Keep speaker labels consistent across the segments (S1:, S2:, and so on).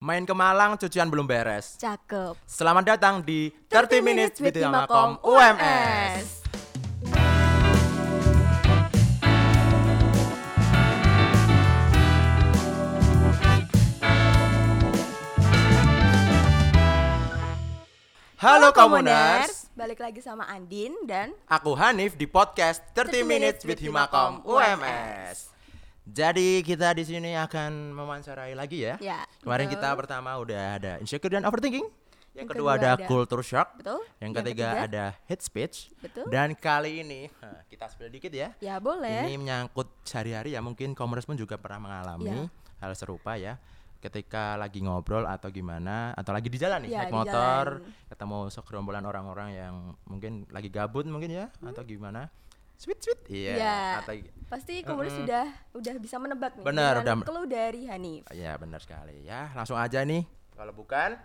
S1: Main ke Malang cucian belum beres.
S2: Cakep.
S1: Selamat datang di 30 Minutes with Imacom
S2: Imacom
S1: UMS. Halo Komuners,
S2: Balik lagi sama Andin dan
S1: aku Hanif di podcast 30 Minutes with Himakom UMS. Jadi kita di sini akan mewawancarai lagi ya.
S2: Ya,
S1: Kemarin
S2: betul.
S1: kita pertama udah ada insecure dan overthinking. Yang,
S2: Yang
S1: kedua,
S2: kedua
S1: ada,
S2: ada-
S1: culture shock.
S2: Betul.
S1: Yang
S2: Yang
S1: ketiga,
S2: ketiga.
S1: ada hate speech.
S2: Betul.
S1: Dan kali ini eh, kita spill dikit ya.
S2: ya boleh.
S1: Ini menyangkut sehari-hari ya mungkin komers pun juga pernah mengalami hal serupa ya. Ketika lagi ngobrol atau gimana atau lagi di jalan nih
S2: Ya,
S1: naik
S2: di
S1: motor ketemu segerombolan orang-orang yang mungkin lagi gabut mungkin ya atau gimana. Sweet sweet. Iya.
S2: Ya.
S1: Atau
S2: Pasti Komuners
S1: Mm-mm.
S2: sudah udah bisa menebak nih.
S1: Benar,
S2: dengan
S1: udah-
S2: Clue dari Hanif.
S1: ya benar sekali ya. Langsung aja nih kalau bukan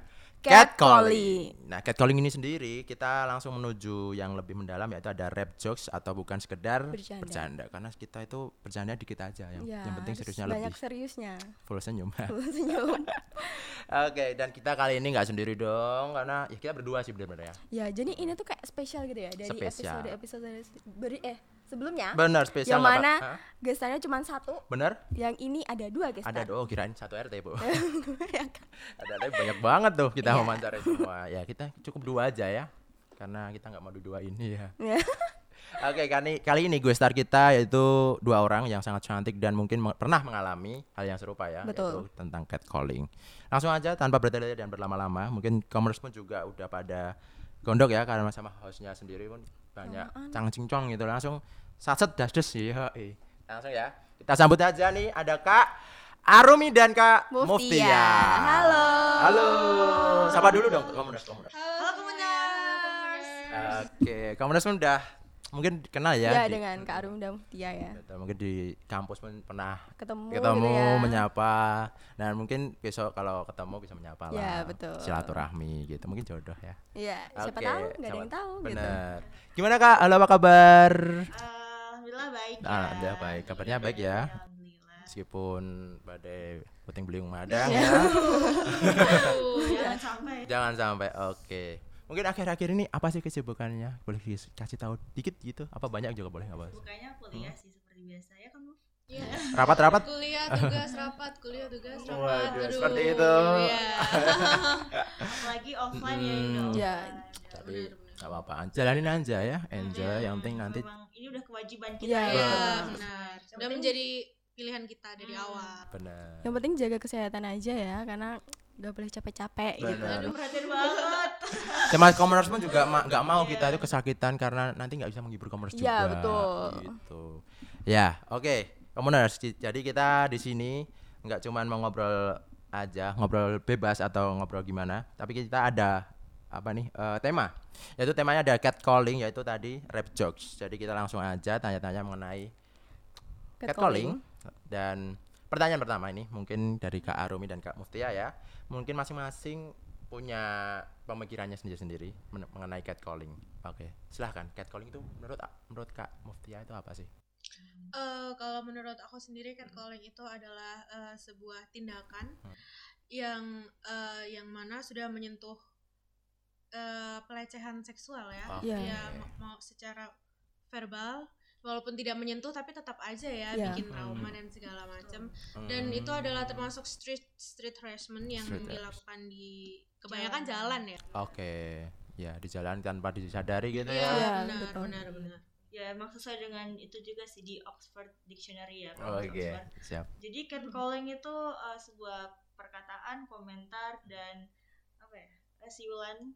S2: Catcalling.
S1: Nah, catcalling ini sendiri kita langsung menuju yang lebih mendalam yaitu ada rap jokes atau bukan sekedar
S2: Bercanda.
S1: karena kita itu bercanda dikit aja yang,
S2: Ya,
S1: yang penting
S2: harus
S1: seriusnya
S2: banyak
S1: lebih
S2: seriusnya.
S1: full senyum.
S2: Lu senyum.
S1: Oke, dan kita kali ini nggak sendiri dong, karena ya kita berdua sih benar-benar ya.
S2: ya, jadi ini tuh kayak spesial gitu ya dari
S1: Spesial.
S2: episode-episode beri eh sebelumnya.
S1: Benar, spesial
S2: Yang
S1: nggak, Pak?
S2: mana
S1: Hah?
S2: gesternya cuma satu,
S1: Bener?
S2: yang ini ada dua gestar.
S1: Ada oh kirain satu RT bu.
S2: Ya kan?
S1: ada ada banyak banget tuh kita
S2: Iya.
S1: mewawancarai semua. Ya kita cukup dua aja ya, karena kita nggak mau dua ini ya.
S2: Ya.
S1: Oke, kali kali ini gue star kita yaitu dua orang yang sangat cantik dan mungkin me- pernah mengalami hal yang serupa ya,
S2: Betul.
S1: yaitu tentang catcalling. Langsung aja tanpa bertele-tele dan berlama-lama, mungkin commerce pun juga udah pada gondok ya karena sama hostnya sendiri pun banyak cang-cincong gitu. Langsung saset dasdes ya. eh. Langsung ya. Kita sambut aja nih ada Kak Arumi dan Kak Muftia.
S2: Muftia. Halo.
S1: Halo. Sapa dulu dong Commerce. Commerce.
S2: Halo Komuners.
S1: Oke, Commerce pun udah mungkin kenal
S2: Ya,
S1: ya, di-
S2: dengan Kak Arum dan Mutia ya.
S1: Atau Gitu, mungkin di kampus pun pernah
S2: Ketemu
S1: ketemu,
S2: gitu ya.
S1: menyapa. Dan mungkin besok kalau ketemu bisa menyapa lah.
S2: Ya, betul.
S1: Silaturahmi gitu. Mungkin jodoh ya.
S2: Iya, siapa
S1: Oke,
S2: tahu nggak ada
S1: siapa-
S2: yang tahu gitu.
S1: Bener. Gimana Kak? Halo, apa kabar?
S3: Alhamdulillah baik. ya.
S1: Alhamdulillah baik. Kabarnya baik ya.
S3: Alhamdulillah.
S1: Meskipun badai puting beliung madang
S2: Iya.
S1: ya.
S4: ya.
S3: Jangan sampai.
S1: Jangan sampai. Oke. Mungkin akhir-akhir ini apa sih kesibukannya? Boleh dikasih tahu dikit gitu? Apa banyak juga boleh nggak Bos?
S3: Bukannya kuliah sih seperti biasa ya kan? Bu?
S4: Iya.
S1: Rapat-rapat
S4: Kuliah Ya, tugas rapat, kuliah tugas rapat.
S1: Waduh,
S4: Aduh,
S1: seperti itu.
S4: Iya.
S3: Apalagi offline ya ini.
S1: Hmm.
S2: Ya.
S1: tapi nggak apa-apa jalanin aja ya enjoy yang penting nanti
S3: Memang ini udah kewajiban kita. ya.
S2: Iya,
S4: Iya,
S3: Yang
S4: benar.
S3: penting-
S4: Udah menjadi pilihan kita dari
S1: Hmm.
S4: awal.
S1: benar
S2: Yang penting jaga kesehatan aja ya, karena nggak boleh capek-capek gitu.
S1: benar
S3: Aduh, perhatian banget.
S1: sama commerce pun juga ma- nggak mau kita itu kesakitan karena nanti nggak bisa menghibur commerce juga
S2: Iya, betul.
S1: gitu ya oke commerce J- jadi kita di sini nggak cuman mau ngobrol aja ngobrol bebas atau ngobrol gimana tapi kita ada apa nih eh, tema yaitu temanya ada catcalling yaitu tadi rap jokes jadi kita langsung aja tanya-tanya mengenai catcalling dan pertanyaan pertama ini mungkin dari Kak Arumi dan Kak Muftia ya mungkin masing-masing punya pemikirannya sendiri-sendiri men- mengenai catcalling oke silahkan catcalling itu menurut menurut Kak Muftia itu apa sih
S4: Eh, kalau menurut aku sendiri catcalling itu adalah eh, sebuah tindakan
S1: Hmm.
S4: yang eh, yang mana sudah menyentuh eh, pelecehan seksual ya.
S1: Oke.
S2: Iya.
S4: Ya, ma- mau secara verbal walaupun tidak menyentuh tapi tetap aja ya
S2: Iya.
S4: bikin trauma
S1: Hmm.
S4: dan segala macam. Dan itu
S1: Hmm.
S4: adalah termasuk street street harassment yang
S1: Street
S4: dilakukan di kebanyakan jalan, ya.
S1: oke ya di jalan tanpa disadari gitu
S4: Iya,
S1: ya
S2: Iya,
S4: benar,
S2: betul.
S4: benar, benar.
S3: Ya emang sesuai dengan itu juga sih di Oxford Dictionary ya.
S1: oke
S3: Oxford.
S4: Iya.
S1: siap
S3: Jadi catcalling itu uh, sebuah perkataan, komentar dan apa ya? eh, Siulan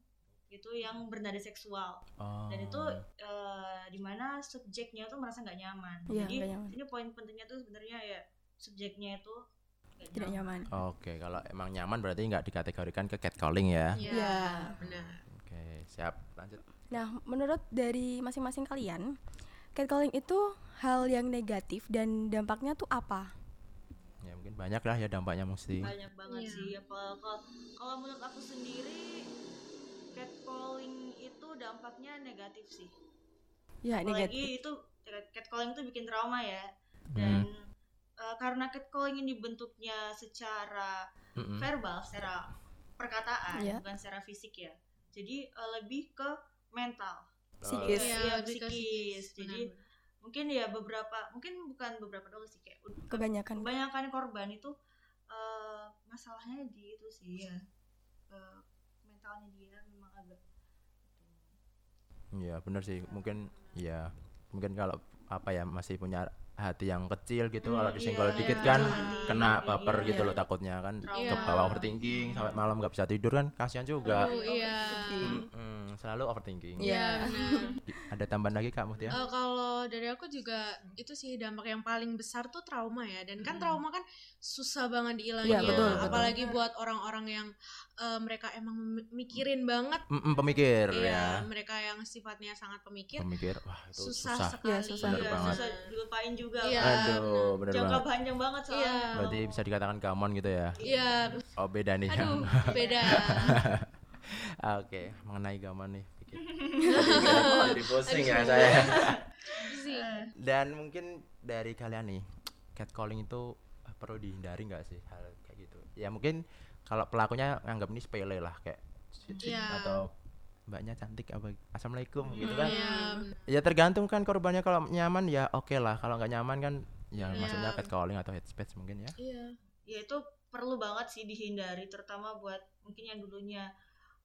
S3: gitu yang bernada seksual.
S1: oh.
S3: dan itu eh, dimana subjeknya tuh merasa nggak nyaman
S2: Iya,
S3: jadi
S2: nggak nyaman.
S3: ini poin pentingnya tuh sebenarnya ya subjeknya itu nggak
S2: Tidak
S3: nyaman.
S2: nyaman.
S1: Oke, kalau emang nyaman berarti nggak dikategorikan ke catcalling ya.
S4: Iya,
S2: Iya.
S4: benar.
S1: Oke, siap. Lanjut.
S2: Nah, menurut dari masing-masing kalian, catcalling itu hal yang negatif dan dampaknya tuh apa?
S1: Ya mungkin banyak lah ya dampaknya mesti.
S3: banyak banget
S4: Iya.
S3: sih ya kalau kalau- kalau menurut aku sendiri catcalling itu dampaknya negatif sih
S2: Ya, negatif. Hmm.
S3: apalagi itu cat- catcalling itu bikin
S1: Hmm.
S3: trauma ya dan eh, karena catcalling ini bentuknya secara
S1: Mm-mm.
S3: verbal secara perkataan
S2: Hmm. Iya.
S3: bukan secara fisik ya jadi eh, lebih ke mental
S2: Psikis.
S3: Iya,
S4: Iya,
S3: psikis.
S4: psikis.
S3: Jadi,
S4: Benar, benar.
S3: mungkin ya beberapa mungkin bukan beberapa doang sih kayak
S2: kebanyakan
S3: kebanyakan korban itu eh, masalahnya di itu sih ya eh, mentalnya dia memang agak
S1: Iya bener sih mungkin ya mungkin kalau apa ya masih punya hati yang kecil gitu kalau disenggol
S4: iya,
S1: dikit
S4: iya.
S1: kan
S4: Iya.
S1: kena baper
S4: iya,
S1: gitu
S4: iya.
S1: loh takutnya kan
S4: Iya.
S1: ke bawah overthinking sampai malam nggak bisa tidur kan kasihan juga.
S4: Oh, iya.
S2: Hmm.
S1: Mm-mm, selalu overthinking.
S2: Iya.
S4: Iya, benar.
S1: Ada tambahan lagi Kak Mutia?
S4: Eh, kalau dari aku juga itu sih dampak yang paling besar tuh trauma ya dan kan trauma kan susah banget
S2: Iya,
S4: dihilanginnya
S2: betul, betul.
S4: apalagi buat orang-orang yang eh, mereka emang mem- mikirin banget
S1: Mm-mm, pemikir ya.
S4: Iya, mereka yang sifatnya sangat pemikir
S1: Pemikir. Wah, itu
S4: susah,
S1: susah.
S4: sekali gitu.
S2: Iya, susah.
S1: Bener banget.
S3: susah dilupain juga
S4: Iya,
S1: Aduh, bener
S3: jangka
S1: banget.
S3: panjang banget soalnya
S4: Iya.
S3: kalau-
S1: Berarti bisa dikatakan gamon gitu ya.
S4: Iya,
S1: Oh, beda nih. ya.
S4: aduh beda
S1: Ah, Oke, mengenai gamon nih. pikir. Jadi pusing ya saya.
S4: sih
S1: Dan mungkin dari kalian nih, catcalling itu eh, perlu dihindari nggak sih hal kayak gitu? Ya mungkin kalau pelakunya nganggap ini sepele lah kayak "Cit, cit,"
S4: Iya.
S1: atau mbaknya cantik apa assalamualaikum gitu kan?
S4: Iya,
S1: Ya tergantung kan korbannya kalau nyaman ya oke lah, kalau nggak nyaman kan ya
S4: Iya.
S1: maksudnya catcalling atau head speech mungkin ya.
S4: iya
S3: ya itu perlu banget sih dihindari terutama buat mungkin yang dulunya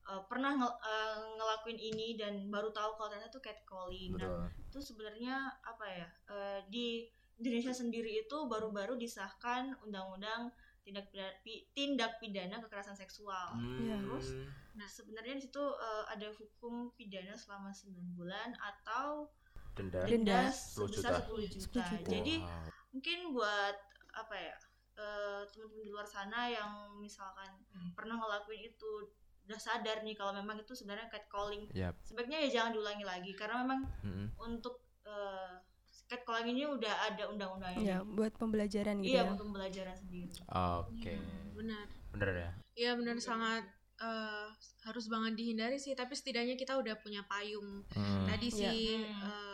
S3: eh, pernah ngel- eh, ngelakuin ini dan baru tahu kalau ternyata itu catcalling Nah, itu sebenarnya apa ya eh, di Indonesia sendiri itu baru-baru disahkan undang-undang tindak pidana, tindak pidana kekerasan seksual.
S1: Hmm.
S2: Iya.
S3: Terus Nah, sebenarnya di situ eh, ada hukum pidana selama 9 bulan atau
S1: denda.
S2: Den-
S3: denda
S2: Denda.
S3: sebesar 10 juta.
S2: 10 juta.
S3: Jadi
S1: Wow.
S3: mungkin buat apa ya eh, teman-teman di luar sana yang misalkan pernah ngelakuin itu udah sadar nih kalau memang itu sebenarnya catcalling
S1: Yap.
S3: sebaiknya ya jangan diulangi lagi karena memang
S1: Mm-mm.
S3: untuk eh, catcalling ini udah ada undang-undangnya
S2: ya buat pembelajaran gitu
S3: iya
S2: ya
S3: untuk pembelajaran sendiri
S1: Oke.
S4: Iya. benar
S1: Bener ya?
S4: iya benar sangat eh, harus banget dihindari sih tapi setidaknya kita udah punya payung
S1: Mm.
S4: tadi
S2: Iya.
S4: sih
S3: Hmm.
S4: eh,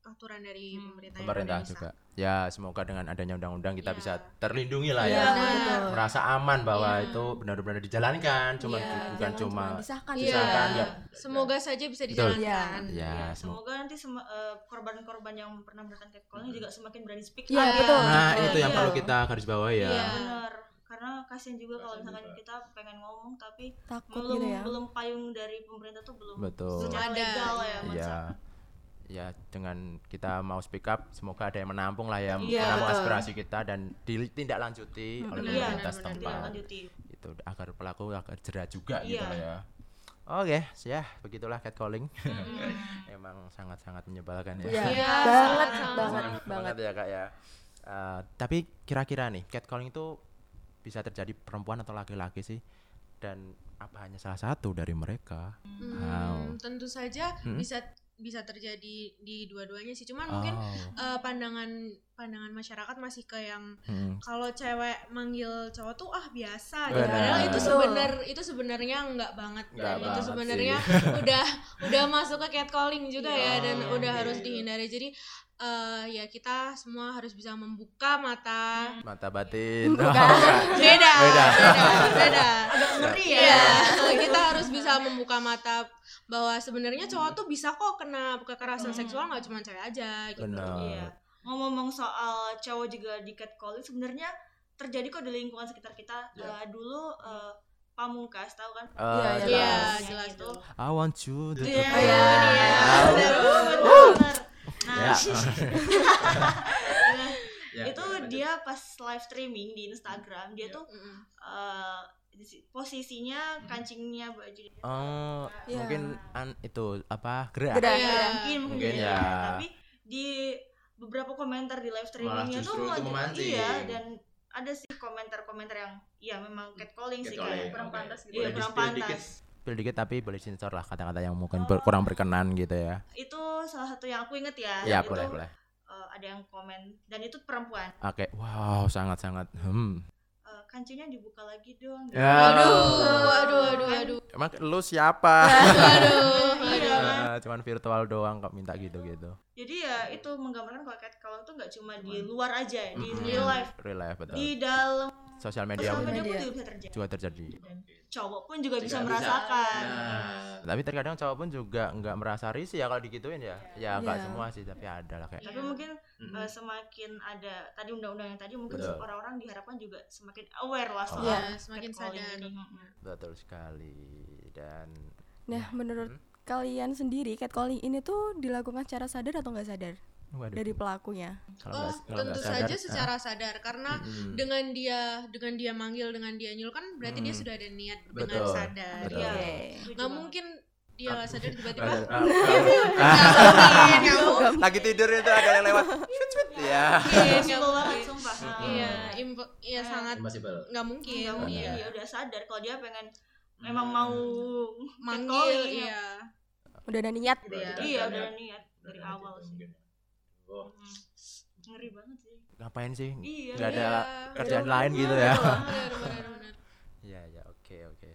S4: aturan dari
S3: Hmm.
S4: pemerintah yang
S1: pemerintah
S4: udah
S1: juga. Ya, semoga dengan adanya undang-undang kita
S4: Ya.
S1: bisa terlindungi lah
S2: Iya,
S1: ya.
S4: Iya.
S2: betul.
S1: Merasa aman bahwa
S4: Iya.
S1: itu benar-benar dijalankan, cuma
S4: Iya.
S1: bukan
S2: Jangan
S1: cuma
S2: disahkan
S4: Iya.
S1: disahkan ya.
S4: semoga saja bisa
S1: Betul.
S4: dijalankan
S1: Ya,
S3: Ya,
S1: semoga.
S3: semoga nanti sema- eh, korban-korban yang pernah melakukan catcalling juga semakin berani speak
S2: Iya,
S3: up.
S2: betul.
S1: Nah, itu
S4: Betul.
S1: yang
S2: gitu.
S3: Iya.
S1: perlu kita garis bawahi ya.
S4: Iya.
S3: benar karena kasihan juga kalau misalkan kita pengen ngomong tapi
S2: takut
S3: belum
S2: gitu ya
S3: belum payung dari pemerintah tuh belum
S1: Betul.
S3: secara
S4: Belum ada.
S3: legal ya
S1: Iya.
S3: masa.
S1: Ya, dengan kita mau speak up, semoga ada yang menampung lah ya,
S3: Iya,
S1: menampung
S2: betul.
S1: aspirasi kita dan ditindaklanjuti oleh
S2: Benar,
S1: pemerintah
S4: benar,
S1: setempat.
S3: tidak lanjuti
S1: Itu agar pelaku agar jerah juga gitu
S3: Iya.
S1: lah ya. Oke, ya begitulah catcalling. Emang sangat-sangat menyebalkan ya.
S2: Iya,
S4: Iya,
S2: banget
S4: sangat,
S2: banget Nah,
S1: Senang
S2: banget
S1: ya kak ya. Eh, tapi kira-kira nih catcalling itu bisa terjadi perempuan atau laki-laki sih dan apa hanya salah satu dari mereka?
S4: Hmm,
S1: Wow.
S4: tentu saja
S1: Hmm.
S4: bisa bisa terjadi di dua-duanya sih cuman mungkin
S1: Oh,
S4: eh, pandangan pandangan masyarakat masih ke yang
S1: mm,
S4: kalau cewek manggil cowok tuh ah biasa
S1: Benar.
S4: padahal itu
S2: Betul.
S4: sebenar itu sebenarnya nggak banget
S1: Iya, Nggak
S4: Dan itu
S1: banget
S4: sebenarnya udah udah masuk ke catcalling juga ya dan
S1: Oh,
S4: udah
S1: iya,
S4: harus
S1: iya.
S4: dihindari jadi eh, ya kita semua harus bisa membuka mata
S1: mata batin. Oh,
S4: Iya, beda
S1: Beda.
S4: beda, beda.
S3: agak ngeri ya
S4: Iya, kita harus bisa membuka mata bahwa sebenarnya cowok tuh bisa kok kena kekerasan seksual nggak cuma cewek aja gitu.
S1: Benar.
S3: Iya. ngomong-ngomong soal cowok juga di catcalling sebenarnya terjadi kok di lingkungan sekitar kita Eh, dulu eh, pamungkas tahu kan
S1: Eh,
S2: Iya, iya.
S1: jelas.
S4: Iya,
S3: Jelas.
S4: jelas
S3: Itu.
S4: dulu.
S1: I want you. to-
S3: Iya,
S2: Iya.
S3: iya, benar, benar.
S1: Ya.
S3: Nah,
S1: Ya,
S3: itu
S1: lanjut.
S3: dia pas live streaming di Instagram, dia tuh
S4: Mm-mm.
S3: eh, di si- posisinya kancingnya baju
S1: Oh,
S2: Iya.
S1: mungkin an- itu apa gerak?
S2: Gerak.
S4: Iya.
S2: Iya.
S3: mungkin
S1: Mungkin
S3: mungkin
S1: ya.
S3: ya. tapi di beberapa komentar di live streamingnya
S1: justru itu
S3: tuh malah-
S1: memancing.
S3: iya dan ada sih komentar-komentar yang ya memang catcalling sih kayak
S5: kurang pantas gitu.
S3: Iya,
S5: Boleh
S3: kurang
S5: di-spill
S3: pantas.
S1: Spill dikit tapi boleh sensor lah kata-kata yang mungkin ber- kurang berkenan gitu ya.
S3: Itu salah satu yang aku inget ya.
S1: Ya,
S3: itu
S1: boleh boleh.
S3: eh, ada yang komen dan itu perempuan.
S1: Oke, wow, sangat-sangat. Hmm.
S3: Eh, kancingnya dibuka lagi dong.
S1: Ya.
S4: Aduh, aduh, aduh, aduh,
S1: Emang lu siapa?
S4: aduh,
S3: Iya,
S4: kan.
S1: eh, cuman virtual doang kok minta gitu-gitu.
S3: jadi ya itu menggambarkan kalau catcalling itu nggak cuma di luar aja ya, di real
S1: Mm-mm.
S3: life
S1: Real life betul.
S3: di dalam
S1: Sosial media
S3: sosial
S1: pun
S3: media pun
S2: media.
S3: juga bisa terjadi
S1: juga terjadi.
S3: dan cowok pun juga bisa
S5: Juga bisa.
S3: merasakan
S5: Nah,
S1: Tapi terkadang cowok pun juga nggak merasa risih ya kalau digituin ya. Ya nggak
S2: Iya.
S1: semua sih, tapi ada lah kayak.
S3: tapi
S4: Iya.
S3: mungkin
S5: mm-mm.
S3: eh, semakin ada tadi undang-undang yang tadi mungkin
S1: Betul. Ah.
S3: orang-orang diharapkan juga semakin aware lah soal
S4: Iya,
S3: catcalling
S4: semakin sadar. Iya.
S3: ini. Mm-mm.
S1: Betul sekali. Dan
S2: Nah, menurut kalian sendiri catcalling ini tuh dilakukan secara sadar atau nggak sadar
S1: waduh.
S2: dari pelakunya?
S1: kalau
S4: Oh,
S1: nggak- kalau nggak
S4: tentu
S1: sadar,
S4: saja
S1: ah, Hmm.
S4: secara sadar karena
S1: mm-mm.
S4: dengan dia dengan dia manggil dengan dia nyul kan berarti dia
S1: Hmm.
S4: sudah ada niat dengan
S1: Betul.
S4: sadar.
S1: Betul.
S4: Iya.
S2: Oke.
S3: Setuju
S4: Nggak
S3: banget.
S4: mungkin dia nggak sadar tiba-tiba
S1: Ah, ah,
S4: ngelakuin kamu.
S1: ah. lagi tidur itu ada yang lewat. Ya.
S4: Iya,
S3: Simple
S4: nggak
S3: banget,
S4: mungkin.
S3: sumpah.
S4: Iya, impo- iya
S3: Eh.
S4: sangat
S5: Impossible.
S4: nggak mungkin.
S3: Iya, mungkin
S4: Iya.
S3: dia udah sadar kalau dia pengen memang mau
S4: Manggil,
S3: catcalling,
S4: iya.
S2: Udah ada niat.
S3: gitu
S5: Iya.
S3: ya.
S5: Udah
S3: Iya,
S5: ada
S3: udah
S5: niat.
S3: niat dari
S5: Nah,
S3: awal
S5: itu
S3: sih.
S5: mungkin. Oh,
S3: Mm. Ngeri banget sih.
S1: Ngapain sih?
S3: Iya.
S1: Nggak ada
S4: Iya.
S1: kerjaan
S4: Bener,
S1: lain gitu
S4: bener,
S1: ya.
S4: bener, bener, bener.
S1: Iya, ya, oke, oke.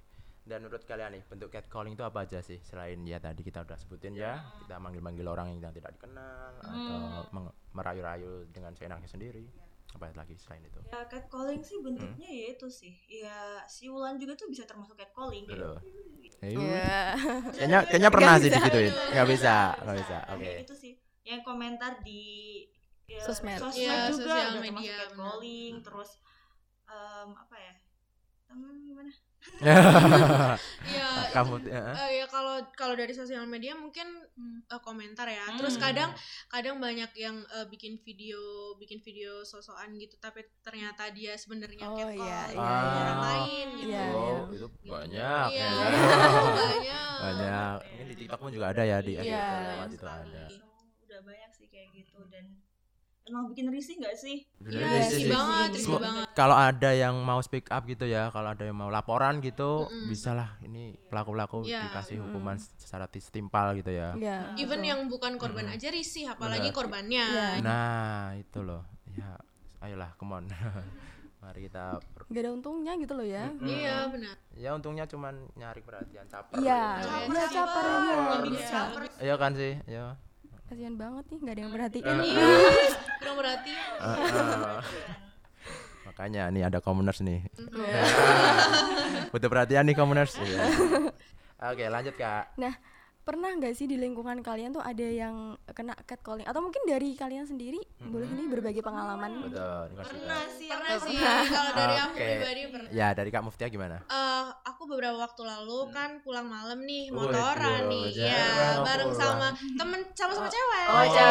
S1: Dan menurut kalian nih, bentuk catcalling itu apa aja sih? Selain ya tadi kita udah sebutin ya, kita manggil-manggil orang yang tidak dikenal atau meng- merayu-rayu dengan seenaknya sendiri. Apa lagi selain itu?
S3: Ya catcalling sih bentuknya
S1: Mm.
S3: ya itu sih. Ya siulan juga tuh bisa termasuk Iya. catcalling.
S1: Betul.
S2: Ya.
S1: Eh, Kayaknya kayaknya pernah
S2: Nggak
S1: sih
S2: bisa.
S1: digituin. Enggak bisa, enggak
S3: Nggak
S1: bisa.
S3: Tapi
S1: Oke.
S3: Iya. itu sih yang komentar di ya,
S2: Sosmed.
S4: Iya,
S3: juga
S4: sosial
S3: udah
S4: media,
S3: termasuk
S4: benar.
S3: catcalling,
S1: Nah.
S3: terus em, apa ya? Temen gimana?
S4: Iya,
S1: Kamu eh,
S4: Eh, ya kalau kalau dari sosial media mungkin
S2: Hmm.
S4: eh, komentar ya. Terus
S3: Hmm.
S4: kadang kadang banyak yang eh, bikin video bikin video sosokan gitu tapi ternyata dia sebenarnya
S2: Oh,
S4: catcall
S2: iya,
S4: gitu,
S1: iya, iya.
S4: orang lain gitu.
S2: Iya,
S1: oh,
S2: iya.
S1: itu
S4: Gitu.
S1: banyak.
S4: Iya,
S1: ya.
S4: banyak.
S1: Banyak. Ini di TikTok pun juga ada ya di
S2: Iya,
S1: FYP itu
S4: sekali.
S1: ada.
S3: Udah banyak sih kayak gitu dan emang bikin risih nggak sih?
S1: Bener
S4: Iya,
S1: sih,
S4: risih
S1: sih.
S4: banget, risih
S1: Semua-
S4: banget.
S1: kalau ada yang mau speak up gitu ya kalau ada yang mau laporan gitu
S4: Mm-mm.
S1: bisalah ini pelaku pelaku
S4: Iya.
S1: dikasih
S2: Mm.
S1: hukuman secara setimpal gitu ya
S2: Iya.
S4: Even
S2: betul.
S4: yang bukan korban
S1: Mm-mm.
S4: aja risih apalagi
S1: Bener.
S4: korbannya.
S2: Iya.
S1: nah itu loh ya ayolah come on mari kita
S2: nggak ada untungnya gitu loh ya.
S4: Iya, benar.
S1: ya untungnya cuman nyari perhatian caper
S2: Iya.
S1: gitu.
S4: Caper,
S2: Udah
S4: caper.
S2: caper ya.
S4: Nggak
S3: Bikin
S4: bisa.
S3: caper.
S1: iya kan sih ya
S2: Kasihan banget nih nggak ada yang perhatiin.
S4: Iya. Kurang berarti
S1: Ah, makanya nih ada commoners nih butuh perhatian nih commoners Iya. oke lanjut kak
S2: Nah, pernah nggak sih di lingkungan kalian tuh ada yang kena catcalling atau mungkin dari kalian sendiri boleh ini berbagi pengalaman?
S1: betul ini kasih
S3: Pernah sih,
S4: Pernah
S3: aku
S4: iya sih kalau dari aku
S1: Oke.
S4: pribadi pernah.
S1: ya dari kak Muftia gimana
S4: Eh, aku beberapa waktu
S1: Hmm.
S4: lalu kan pulang malam nih
S1: Waduh, iya,
S4: motoran nih ya
S1: jarang
S4: bareng
S1: pulang.
S4: sama temen sama sama cewek
S1: oh,
S4: Iya.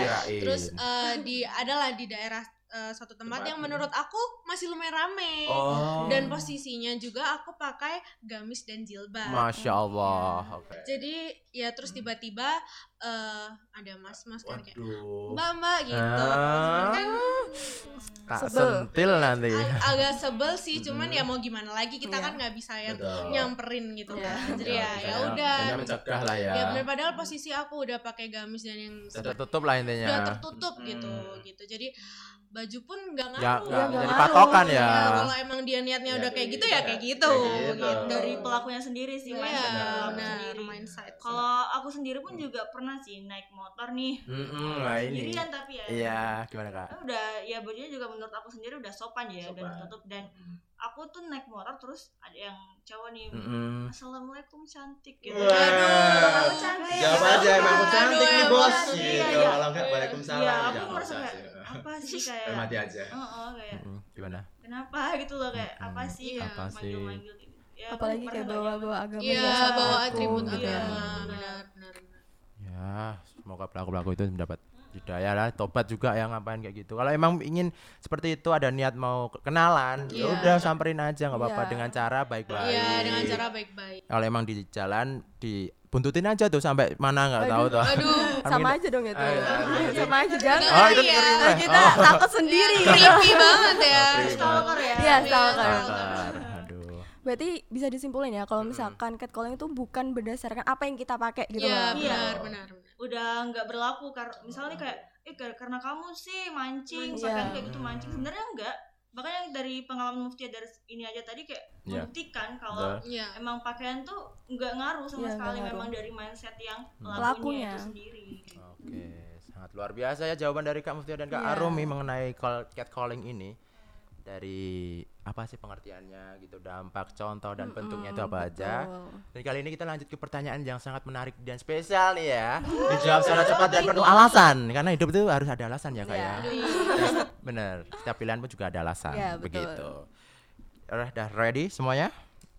S1: kirain.
S4: terus eh, di adalah di daerah eh, suatu tempat
S1: Tempat. hmm.
S4: yang menurut aku masih lumayan rame
S1: oh
S4: dan posisinya juga aku pakai gamis dan jilbab
S1: Masya Allah. Oke.
S4: jadi ya
S1: hmm.
S4: terus tiba-tiba eh, ada mas-mas kan kayak
S1: Waduh.
S4: mbak mbak gitu
S1: Ah.
S4: Kan
S1: Tak
S2: Sebel.
S1: sentil nanti.
S4: ag- agak sebel sih cuman
S1: Hmm.
S4: ya mau gimana lagi kita
S2: Iya.
S4: kan nggak bisa yang
S5: Betul.
S4: nyamperin gitu
S2: Iya.
S4: kan jadi ya ya udah
S1: Saya mencegah lah ya.
S4: ya benar padahal posisi aku udah pakai gamis dan yang
S1: Sudah
S4: seperti-
S1: tutup lah ya. intinya.
S4: udah tertutup
S5: Hmm.
S4: gitu gitu jadi baju pun nggak ngaruh
S1: Ya nggak
S2: Iya, nggak
S1: jadi
S2: ngaruh.
S1: patokan ya.
S4: Ya, kalau emang dia niatnya
S5: Ya,
S4: udah kayak gitu ya kayak gitu
S1: Iya,
S5: Kayak gitu.
S4: gitu.
S3: dari pelakunya sendiri sih,
S4: Iya,
S3: mindsetnya pelaku
S4: benar,
S3: sendiri.
S4: mindset.
S3: Kalau aku sendiri pun juga pernah sih naik motor nih
S1: Mm-mm, Hmm. nah ini.
S3: sendirian tapi ya.
S1: Iya, gimana kak?
S3: Kan udah ya bajunya juga menurut aku sendiri udah sopan ya, udah
S5: Sopan.
S3: tertutup dan aku tuh naik motor terus ada yang cowok nih.
S1: Hmm. Mm-mm.
S3: Assalamualaikum cantik gitu.
S5: Wah.
S3: Aduh, aku cantik.
S5: Jawab aja emang aku
S4: Aduh,
S5: cantik nih
S4: emang
S5: bos
S4: cantik,
S3: Iya,
S5: gitu.
S3: iya.
S5: Alhamdulillah waalaikumsalam.
S3: Iya, aku
S5: Jangan
S3: merasa
S5: usah
S3: kayak
S5: sih.
S3: apa sih kayak.
S5: Hormati aja.
S3: Oh, oh, kayak
S1: Mm-mm, Gimana?
S3: kenapa gitu loh kayak
S1: Mm-mm.
S3: apa
S5: Hmm,
S3: sih
S4: Iya.
S1: Apa sih?
S3: manggil-manggil gitu. Ya, aku
S2: Apalagi
S3: pernah
S2: kayak
S3: banyak.
S2: bawa-bawa agama
S4: iya
S2: dasar
S4: bawa
S2: aku
S4: atribut Iya,
S1: gitu ya.
S4: agama benar benar
S1: Ya, semoga pelaku-pelaku itu mendapat hidayah lah, tobat juga yang ngapain kayak gitu. Kalau emang ingin seperti itu ada niat mau kenalan, ya
S4: Iya.
S1: udah samperin aja nggak apa-apa
S2: Iya.
S1: dengan cara baik-baik.
S4: iya dengan cara baik-baik
S1: kalau emang di jalan dibuntutin aja tuh sampai mana nggak tahu tuh.
S4: aduh
S2: Sama aja dong itu. Sama aja jangan.
S1: Oh, itu
S4: Iya.
S1: ngeri.
S2: Kita takut sendiri.
S4: creepy banget ya
S3: Stalker ya.
S2: Iya, stalker.
S1: Sabar. Aduh.
S2: Berarti bisa disimpulin ya kalau
S1: Hmm.
S2: misalkan catcalling itu bukan berdasarkan apa yang kita pakai gitu loh.
S4: iya benar benar benar.
S3: udah nggak
S5: Hmm.
S3: berlaku karena misalnya kayak eh kar- karena kamu sih mancing
S2: Mancing.
S3: bahkan
S2: Iya.
S3: kayak gitu mancing sebenarnya enggak makanya dari pengalaman Muftia dari ini aja tadi kayak
S1: Iya.
S3: membuktikan kalau
S4: Iya.
S3: emang pakaian tuh nggak ngaruh sama
S2: Iya, nggak
S3: sekali
S2: ngaruh.
S3: memang dari mindset yang
S1: Hmm.
S3: pelakunya
S2: Pelakunya.
S3: itu sendiri
S5: Hmm.
S1: Oke, sangat luar biasa ya jawaban dari Kak Muftia dan Kak
S2: Iya.
S1: Arumi mengenai call, catcalling ini. Dari apa sih pengertiannya gitu, dampak, contoh dan bentuknya itu apa aja.
S2: betul.
S1: Dan kali ini kita lanjut ke pertanyaan yang sangat menarik dan spesial nih ya. Dijawab secara cepat dan penuh alasan karena hidup itu harus ada alasan ya Kak
S2: Iya.
S1: ya. Bener, setiap pilihan pun juga ada alasan
S2: Iya, betul.
S1: begitu. Udah, udah ready semuanya?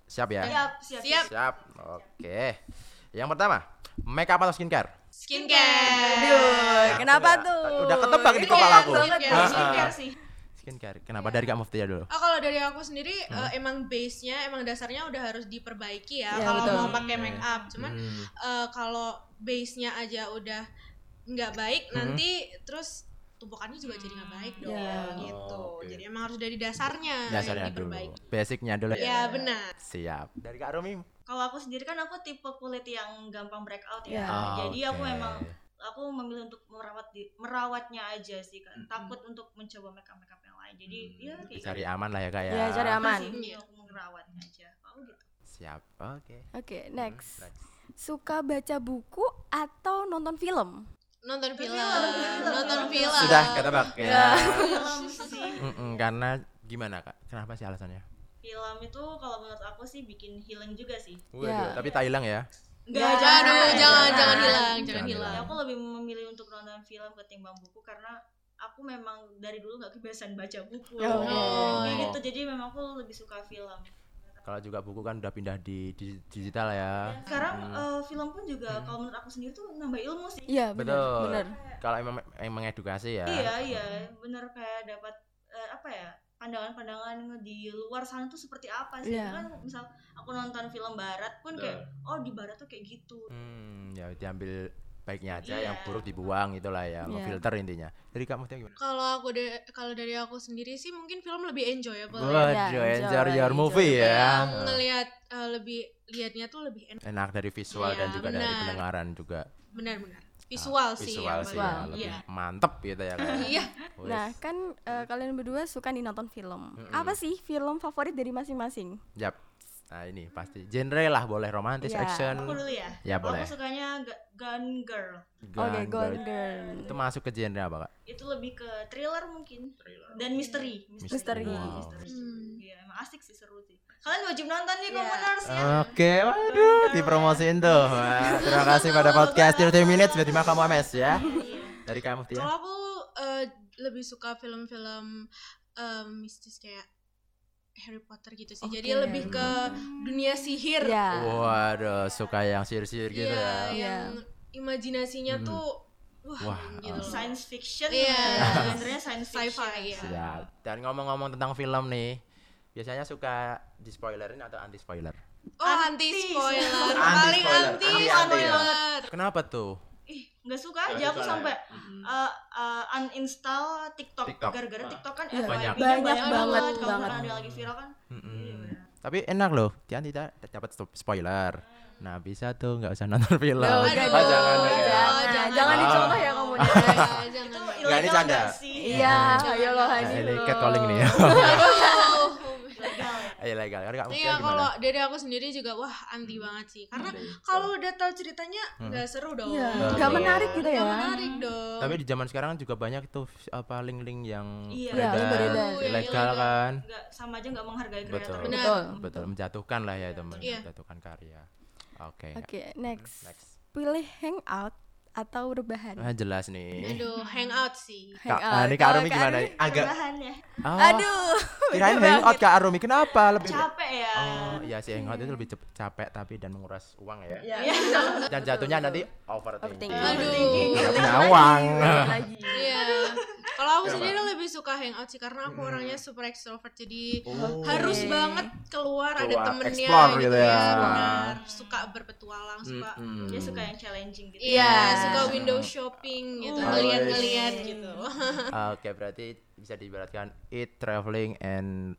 S1: Siap ya?
S3: siap Iya, siap,
S4: Siap.
S1: Siap. Oke. Yang pertama, makeup atau skincare?
S4: Skincare.
S2: Aduh,
S1: Nah,
S2: kenapa
S1: udah-
S2: tuh?
S1: udah ketebak di
S2: Iya,
S1: kepala aku.
S2: banget ya.
S1: Ah,
S3: Skincare
S1: ah.
S3: sih
S1: Skincare. Kenapa dari Kak Muftia dulu?
S4: Oh, kalau dari aku sendiri eh, emang base-nya emang dasarnya udah harus diperbaiki ya
S2: Iya,
S4: kalau
S2: betul.
S4: mau pakai make up. Cuman
S1: Hmm.
S4: eh, kalau base-nya aja udah nggak baik nanti terus tumpukannya juga jadi nggak baik dong
S2: Iya.
S4: gitu.
S5: Oh, oke.
S4: Jadi emang harus dari dasarnya yang
S1: Dasarnya dulu.
S4: eh, diperbaiki.
S1: Basicnya dulu.
S4: Ya benar.
S1: Siap. Dari Kak Rumi?
S3: kalau aku sendiri kan aku tipe kulit yang gampang breakout
S2: Iya.
S3: ya
S1: Ah,
S3: jadi aku
S1: oke.
S3: emang aku memilih untuk merawat di, merawatnya aja sih kan takut untuk mencoba makeup makeup yang lain jadi
S4: Hmm,
S3: ya kayak
S1: cari aman lah ya Kak ya.
S2: Iya, cari aman.
S3: sih, mending aku merawatnya aja aku gitu
S1: Siap. Oke.
S2: Oke,
S1: Hmm,
S2: next. Suka baca buku atau nonton film?
S4: Nonton film, nonton film.
S1: Sudah ketebak ya.
S3: film sih
S1: Mm-mm, karena gimana Kak? Kenapa sih alasannya?
S3: film itu kalau menurut aku sih bikin healing juga sih
S1: Waduh,
S2: Ya.
S1: tapi tak hilang ya.
S4: Nggak, jangan, aduh, jangan, jangan hilang, jangan,
S1: Jangan
S4: hilang.
S3: Ya, aku lebih memilih untuk nonton film ketimbang buku karena aku memang dari dulu nggak kebiasaan baca buku
S4: Ya,
S2: Oh.
S3: Kayak gitu jadi memang aku lebih suka film
S1: Kalau juga buku kan udah pindah di di- digital ya.
S3: sekarang eh, film pun
S1: Hmm.
S3: juga kalau menurut aku sendiri tuh nambah ilmu sih
S2: Iya, benar,
S1: Betul.
S2: benar.
S1: Kalau emang emang edukasi ya.
S3: Iya iya bener kayak dapat eh, apa ya pandangan-pandangan di luar sana tuh seperti apa sih
S2: Iya.
S3: kan misal aku nonton film barat pun kayak oh di barat tuh kayak gitu
S1: Hmm, ya diambil baiknya aja,
S3: Iya.
S1: yang buruk dibuang itulah ya,
S2: Iya.
S1: ngefilter intinya. Dari Kak Mutia gimana?
S4: Kalau aku da- kalau dari aku sendiri sih mungkin film lebih enjoyable. ya.
S1: Waduh,
S2: enjoy,
S1: enjoy your movie
S4: Kayak
S1: ya.
S4: Ngelihat eh, lebih liatnya tuh lebih enak
S1: Enak dari visual dan
S4: Iya,
S1: juga dari
S4: benar.
S1: pendengaran juga.
S4: benar-benar. Visual sih.
S1: Visual
S4: yang
S1: sih
S4: paling-
S1: ya,
S2: Visual.
S1: lebih
S4: Iya.
S1: mantep gitu ya kayak.
S4: Iya.
S1: Wes. Hmm.
S2: Nah, kan eh, kalian berdua suka nih nonton film. Apa sih film favorit dari masing-masing?
S1: Yap. Nah, ini pasti genre lah, boleh romantis,
S2: Iya.
S1: action.
S3: aku dulu ya
S1: Ya,
S3: Kalau
S1: boleh.
S3: aku sukanya Gu- Gun Girl
S2: Oke,
S1: Gun-
S2: Golden
S1: gun- Itu masuk ke genre apa, Kak?
S3: itu lebih ke thriller mungkin dan misteri
S2: Misteri.
S1: Wow.
S3: misteri Iya, emang asik sih seru sih kalian wajib nonton nih
S2: Iya.
S3: komuners ya
S1: Oke, waduh, dipromosiin tuh. Wah, terima kasih pada podcast 30 Minutes bersama kamu Ames ya.
S3: Iya.
S1: Dari kamu Tia.
S4: Kalau aku eh, lebih suka film-film em, mistis kayak Harry Potter gitu sih. Jadi
S2: Oke.
S4: lebih ke
S1: Hmm.
S4: dunia sihir.
S2: Ya.
S1: Waduh, suka yang sihir-sihir gitu
S4: Iya,
S1: ya.
S4: yang
S1: Mhm.
S4: imajinasinya tuh wah,
S1: Wah,
S3: iya,
S4: gitu. loh.
S3: science fiction
S4: Iya.
S3: sebenarnya science fiction
S4: Sci-fi
S1: iya.
S4: ya.
S1: Siap. Dan ngomong-ngomong tentang film nih, biasanya suka di spoilerin atau anti spoiler?
S4: Oh, anti
S1: Anti
S4: spoiler. Paling
S1: spoiler,
S4: anti
S1: anti- anti ya.
S4: spoiler.
S1: Kenapa tuh?
S3: ih nggak suka aja aku
S5: suka
S1: ya.
S3: sampai uh, uh, uninstall TikTok
S1: TikTok. Ah.
S3: gara-gara TikTok kan
S2: Iya,
S1: Banyak.
S3: FYP-nya
S2: banyak banget,
S3: kalau
S2: banget.
S3: pernah ada lagi viral kan
S1: Tapi enak loh, Tian tidak dapat stop- spoiler. Nah bisa tuh nggak usah nonton film. Oh,
S2: Loh, udah
S4: Aduh,
S1: jangan,
S2: dong,
S1: jangan.
S2: jangan,
S4: jangan.
S2: Jangan
S1: Ah.
S2: dicontoh ya kamu.
S4: Ya, jangan.
S3: itu
S4: jangan.
S1: Nggak, ini
S3: ilegal
S1: canda.
S3: nggak sih
S2: Iya, ayo loh
S1: Nah,
S2: Hani
S1: ini
S2: loh.
S1: catcalling nih.
S2: Iya,
S4: Aduh.
S3: Ilegal ya.
S1: Iya legal. Karena kamu
S4: Iya,
S1: gimana?
S4: kalau dari aku sendiri juga wah
S2: Hmm.
S4: anti banget sih. Karena kalau udah tahu ceritanya nggak seru dong.
S2: Iya,
S1: Hmm. Betul.
S2: nggak menarik gitu
S4: Nggak
S2: ya.
S4: menarik dong.
S1: Tapi di zaman sekarang juga banyak tuh apa link-link yang
S3: Iya.
S1: beredar,
S2: Yang beredar.
S1: ilegal
S4: Yang
S1: kan.
S3: nggak sama aja nggak menghargai
S1: Betul.
S3: kreator
S4: Benar.
S2: Betul.
S1: Betul. Menjatuhkan lah ya teman.
S4: Iya.
S1: Menjatuhkan karya. Oke.
S2: Oke, next.
S1: Next.
S2: Pilih hangout atau rebahan?
S1: Ah, jelas nih.
S4: Aduh, hangout sih.
S1: Kak,
S2: Hangout.
S1: ah, ini Kak
S2: Kalau
S1: Arumi gimana?
S2: Arumi-
S1: Agak.
S3: Bahan ya
S1: Oh,
S2: Aduh.
S1: Kirain
S2: beda
S1: hangout Kak Arumi kenapa? Lebih.
S3: capek ya
S1: Oh, iya sih hangout itu lebih cep- capek tapi dan menguras uang ya.
S3: Iya.
S1: Dan jatuhnya nanti overthinking.
S2: Overthinking.
S4: Aduh.
S1: Nggak punya uang.
S2: banget. Lagi.
S4: Iya. Kalau aku sendiri lebih suka hangout sih karena
S1: Hmm.
S4: aku orangnya super extrovert jadi harus banget keluar,
S1: Oh.
S4: ada
S1: Keluar,
S4: temennya
S1: explore gitu ya. Hmm,
S4: benar. Suka berpetualang, suka ya?
S1: Mm-mm.
S3: dia suka yang challenging gitu
S4: Iya, suka window shopping gitu,
S1: Oh.
S4: ngeliat-ngeliat gitu.
S1: Oke, berarti bisa diibaratkan eat, traveling, and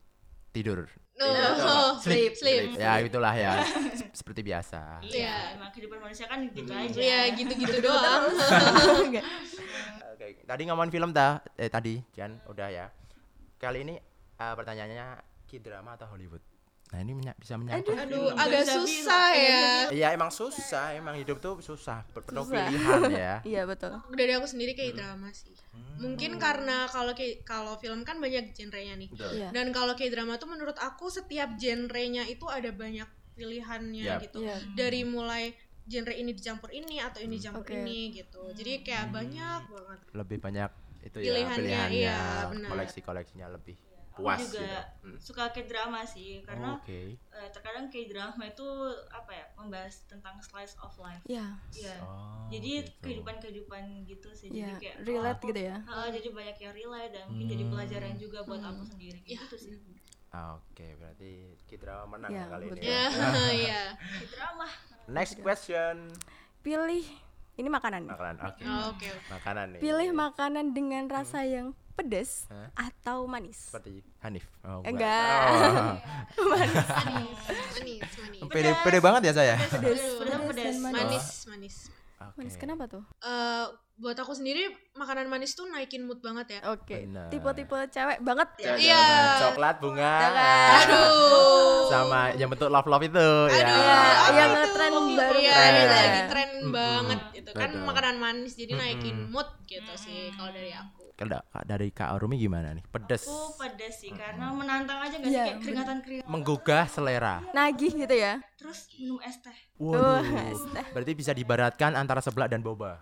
S1: tidur.
S4: No,
S1: iya.
S4: sleep, Oh, sleep.
S1: Ya, itulah ya. Sep- Seperti biasa.
S3: iya emang kehidupan manusia kan gitu aja
S4: Iya, gitu-gitu doang.
S2: Nggak.
S1: Oke, tadi ngomongin film dah. Eh tadi, Jan, udah ya. Kali ini eh, pertanyaannya K-drama atau Hollywood? Nah, ini menya- bisa
S2: Aduh,
S1: menyangkut.
S4: Aduh, agak
S3: Bisa
S4: susah ya.
S1: Iya, emang susah, emang hidup tuh susah, ber- penuh
S2: Susah.
S1: pilihan ya.
S2: Iya betul.
S4: Dari aku sendiri
S1: Hmm.
S4: kayak drama sih. Mungkin karena kalau kayak- kalau film kan banyak genrenya nih.
S1: Betul.
S2: Iya.
S4: Dan kalau kayak drama tuh menurut aku setiap genrenya itu ada banyak pilihannya
S1: Yap.
S4: gitu.
S2: Iya.
S4: Dari mulai genre ini dicampur ini atau
S1: Hmm.
S4: ini dicampur
S2: Oke.
S4: ini gitu. Jadi kayak banyak banget.
S1: Lebih banyak itu ya
S4: Pilihannya,
S1: pilihannya,
S4: iya, benar.
S1: koleksi-koleksinya lebih puas
S3: juga
S1: gitu. Oh,
S3: suka ke drama sih karena
S1: Oke.
S3: eh, terkadang ke drama itu apa ya membahas tentang slice of life
S2: Iya.
S3: Iya.
S1: Oh,
S3: jadi
S1: gitu.
S3: kehidupan-kehidupan gitu sih
S2: Iya.
S3: jadi kayak
S2: Relate
S3: oh,
S2: gitu ya.
S3: Heeh, jadi banyak yang relate dan mungkin jadi
S1: Hmm. Iya.
S3: pelajaran juga buat aku sendiri kayak gitu sih
S1: Ah, Oke, berarti kita menang
S2: Iya,
S1: kali ini.
S2: betul.
S1: ya.
S4: Ya, iya.
S3: Ke drama
S1: Next question.
S2: Pilih ini makanan. nih.
S1: Makanan. Oke.
S4: Oh, Oke.
S1: Makanan nih.
S2: Pilih makanan dengan rasa yang pedas
S1: Hmm. Hah?
S2: atau manis.
S1: seperti Hanif. Oh, bukan.
S2: Enggak.
S1: Oh.
S4: Manis, manis, manis.
S1: Pede, pede banget ya saya.
S2: Pedas,
S4: Aduh,
S2: pedas,
S3: pedas.
S2: dan manis.
S4: Manis, manis.
S1: Oke.
S2: Manis kenapa tuh?
S4: Eh, buat aku sendiri makanan manis tuh naikin mood banget ya.
S2: Oke.
S1: Benar.
S2: Tipe-tipe cewek banget.
S4: Iya.
S1: Coklat bunga.
S4: Aduh.
S1: Sama yang bentuk love love itu ya.
S4: Aduh,
S2: Iya,
S4: apa
S2: yang
S4: itu?
S2: ngetren baru
S4: Iya,
S1: tren
S4: ini
S1: ya.
S4: lagi tren
S1: Mm-mm.
S4: banget gitu kan
S1: Betul.
S4: makanan manis jadi naikin
S1: Mm-mm.
S4: mood gitu sih kalau dari aku.
S1: Kalau da- dari Kak Arumi gimana nih? Pedes.
S3: aku pedes
S1: Hmm.
S3: sih karena menantang aja gak sih
S2: Iya,
S3: kayak keringatan keringatan
S1: Menggugah selera.
S2: Nagih gitu ya.
S3: terus minum es teh
S2: Wah,
S1: Waduh. Berarti bisa dibaratkan antara seblak dan boba.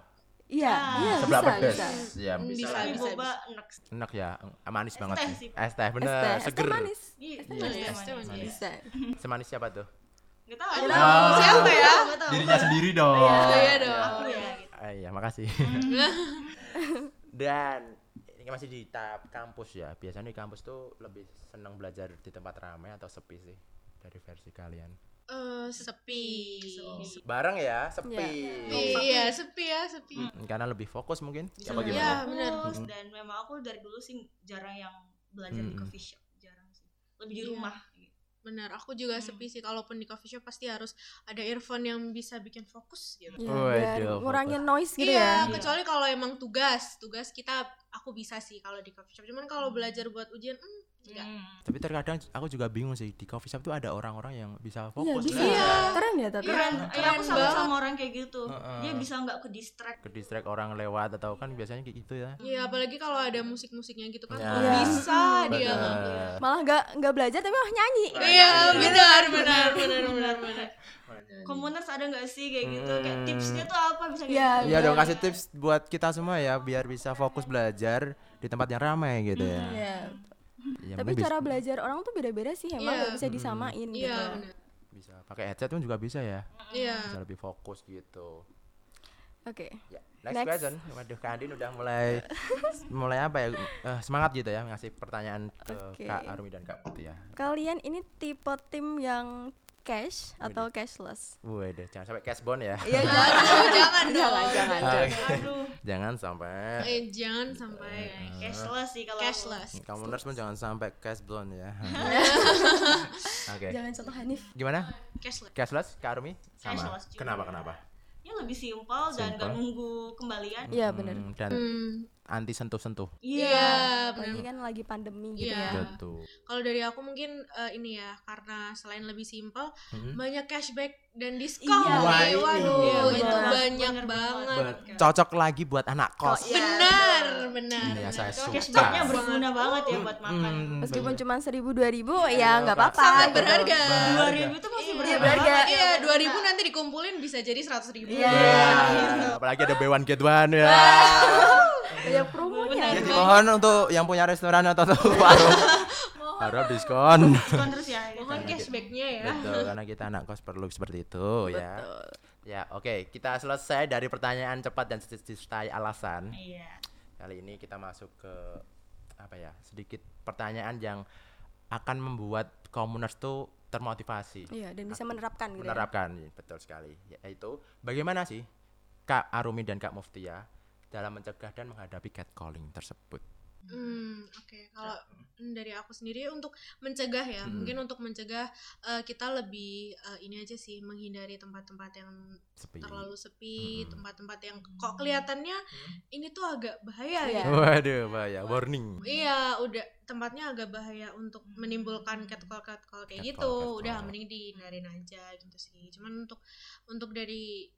S2: Iya, iya
S1: Seblak
S2: bisa,
S1: Ya. pedes.
S2: bisa.
S1: Iya,
S4: Hmm,
S1: bisa.
S4: bisa,
S3: tapi
S4: bisa,
S3: boba enak
S1: Enak ya, manis banget
S3: teh
S1: sih.
S3: sih.
S1: Es teh bener,
S2: Es teh, es teh
S1: seger.
S2: manis.
S3: Iya,
S2: teh manis.
S3: iya,
S4: Es teh
S3: manis.
S4: manis.
S2: Bisa.
S1: Semanis siapa tuh?
S3: Gak tau,
S2: Nggak
S3: aku-
S1: tahu.
S4: Siapa ya?
S3: Nggak tahu.
S1: Ah, Dirinya sendiri dong.
S4: Oh, iya dong.
S3: Aku ya, gitu.
S1: Eh, Iya, makasih. Dan ini masih di tahap kampus ya. Biasanya di kampus tuh lebih senang belajar di tempat ramai atau sepi sih dari versi kalian.
S4: Eh, sepi.
S1: Iya. Bareng ya, sepi.
S4: Sepi, Iya, sepi ya, sepi.
S1: Mm, Karena lebih fokus mungkin.
S3: Bisa
S1: Apa
S3: lebih
S1: gimana?
S4: Iya, benar.
S3: fokus, dan memang aku dari dulu sih jarang yang belajar di
S1: Mm-mm.
S3: coffee shop jarang sih lebih di
S4: Iya.
S3: rumah gitu.
S4: Benar, aku juga sepi sih kalaupun di coffee shop pasti harus ada earphone yang bisa bikin fokus gitu.
S2: Iya,
S1: Waduh,
S2: biar
S1: fokus.
S2: ngurangin noise gitu ya.
S4: Iya, kecuali kalau emang tugas, tugas kita aku bisa sih kalau di coffee shop. Cuman kalau belajar buat ujian, hmm, enggak.
S3: Iya,
S1: Tapi terkadang aku juga bingung sih di coffee shop tuh ada orang-orang yang bisa
S2: Iya,
S1: fokus
S2: bisa.
S4: Iya.
S2: Keren ya, Tata.
S3: keren
S4: Keren
S3: kayak iya, aku sama
S4: banget.
S3: sama orang kayak gitu
S1: Heeh.
S3: dia bisa nggak ke distract
S1: ke distract orang lewat atau kan biasanya kayak gitu ya.
S4: Iya, apalagi kalau ada musik-musiknya gitu kan.
S1: Iya.
S4: kok Bisa dia
S3: Iya.
S1: Bener.
S2: Malah nggak nggak belajar tapi malah nyanyi.
S4: Iya, benar, benar, benar, benar, benar.
S3: komuners ada nggak sih kayak gitu kayak tipsnya tuh apa bisa kayak
S2: Iya,
S3: gitu.
S1: Hmm. Iya dong kasih tips buat kita semua ya biar bisa fokus belajar di tempat yang ramai gitu ya.
S2: Iya.
S1: Ya,
S2: Tapi
S1: mungkin bis-
S2: cara belajar orang tuh beda-beda sih, emang
S4: Iya.
S2: nggak bisa disamain gitu.
S4: Iya, benar.
S1: bisa pakai headset pun juga bisa ya.
S4: Iya.
S1: Bisa lebih fokus gitu.
S2: Oke.
S1: Ya, next,
S2: Next.
S1: question. Waduh, Kak Andin udah mulai mulai apa ya? eh, semangat gitu ya ngasih pertanyaan ke
S2: Oke.
S1: Kak Arumi dan Kak Putih ya.
S2: Kalian ini tipe tim yang cash atau cashless?
S1: Waduh, jangan sampai cashbone ya.
S2: Iya, jangan,
S4: Jangan dong.
S2: jangan, jangan.
S1: Oke.
S3: aduh
S1: jangan sampai
S4: Eh, jangan sampai
S1: eh.
S3: cashless sih kalau aku.
S4: cashless.
S1: kamu nurse pun jangan sampai cashbone ya. Oke.
S2: Jangan contoh Hanif.
S1: Gimana?
S4: Cashless.
S1: Cashless Kak Arumi? Sama.
S3: Cashless juga.
S1: Kenapa kenapa?
S3: ya lebih simpel dan nggak
S1: Simpel.
S3: nunggu kembalian
S2: Iya, benar.
S1: Hmm, dan
S4: Hmm.
S1: anti sentuh-sentuh.
S4: Iya, benar.
S2: Apalagi kan lagi pandemi gitu
S4: Iya.
S2: ya.
S1: Betul.
S4: Kalau dari aku mungkin eh, ini ya, karena selain lebih simpel,
S1: Hmm.
S4: banyak cashback dan diskon.
S3: Iya.
S1: Wah,
S4: Eh, waduh,
S1: iya,
S4: itu
S2: benar.
S4: banyak
S3: Benar Iya,
S4: banget.
S1: Be- cocok lagi buat anak kos.
S2: Kos.
S4: Benar, benar.
S1: Iya, saya
S4: Cocok
S3: cashbacknya
S4: banget.
S3: berguna banget ya buat makan
S1: Hmm,
S2: Meskipun
S1: bener.
S2: cuma seribu dua ribu, ya nggak apa-apa.
S4: Sangat
S2: gitu.
S4: berharga.
S3: dua ribu itu masih ya?
S2: Iya,
S3: berharga
S2: berharga.
S4: Iya, 2000 nanti dikumpulin bisa jadi 100 ribu.
S2: Iya.
S1: Iya, Apalagi ada B1 get one ya.
S2: Banyak promonya.
S1: Jadi mohon untuk yang punya restoran atau toko warung harap diskon.
S3: diskon terus ya gitu.
S4: Mohon cashbacknya
S2: Iya.
S4: ya.
S1: Iya. Betul, karena kita anak kos perlu seperti itu ya. Ya, oke, kita selesai dari pertanyaan cepat dan sedikit disertai alasan.
S3: iya
S1: Kali ini kita masuk ke apa ya? Sedikit pertanyaan yang akan membuat komuners tuh termotivasi.
S2: Iya, dan bisa menerapkan gitu. ya.
S1: menerapkan ya, betul sekali yaitu bagaimana sih Kak Arumi dan Kak Muftia dalam mencegah dan menghadapi catcalling tersebut
S4: Hmm, oke. Kalau mm, dari aku sendiri untuk mencegah ya,
S1: Hmm.
S4: mungkin untuk mencegah eh, kita lebih eh, ini aja sih menghindari tempat-tempat yang
S1: sepi Hmm.
S4: terlalu sepi,
S1: Mm-mm.
S4: tempat-tempat yang kok kelihatannya
S1: Hmm.
S4: ini tuh agak bahaya
S2: Iya.
S4: ya.
S1: waduh bahaya warning
S4: Iya, udah tempatnya agak bahaya untuk menimbulkan catcall catcall
S1: Catcall,
S4: kayak gitu.
S1: Hmm. catcall.
S4: Udah mending dihindarin aja gitu sih. Cuman untuk untuk dari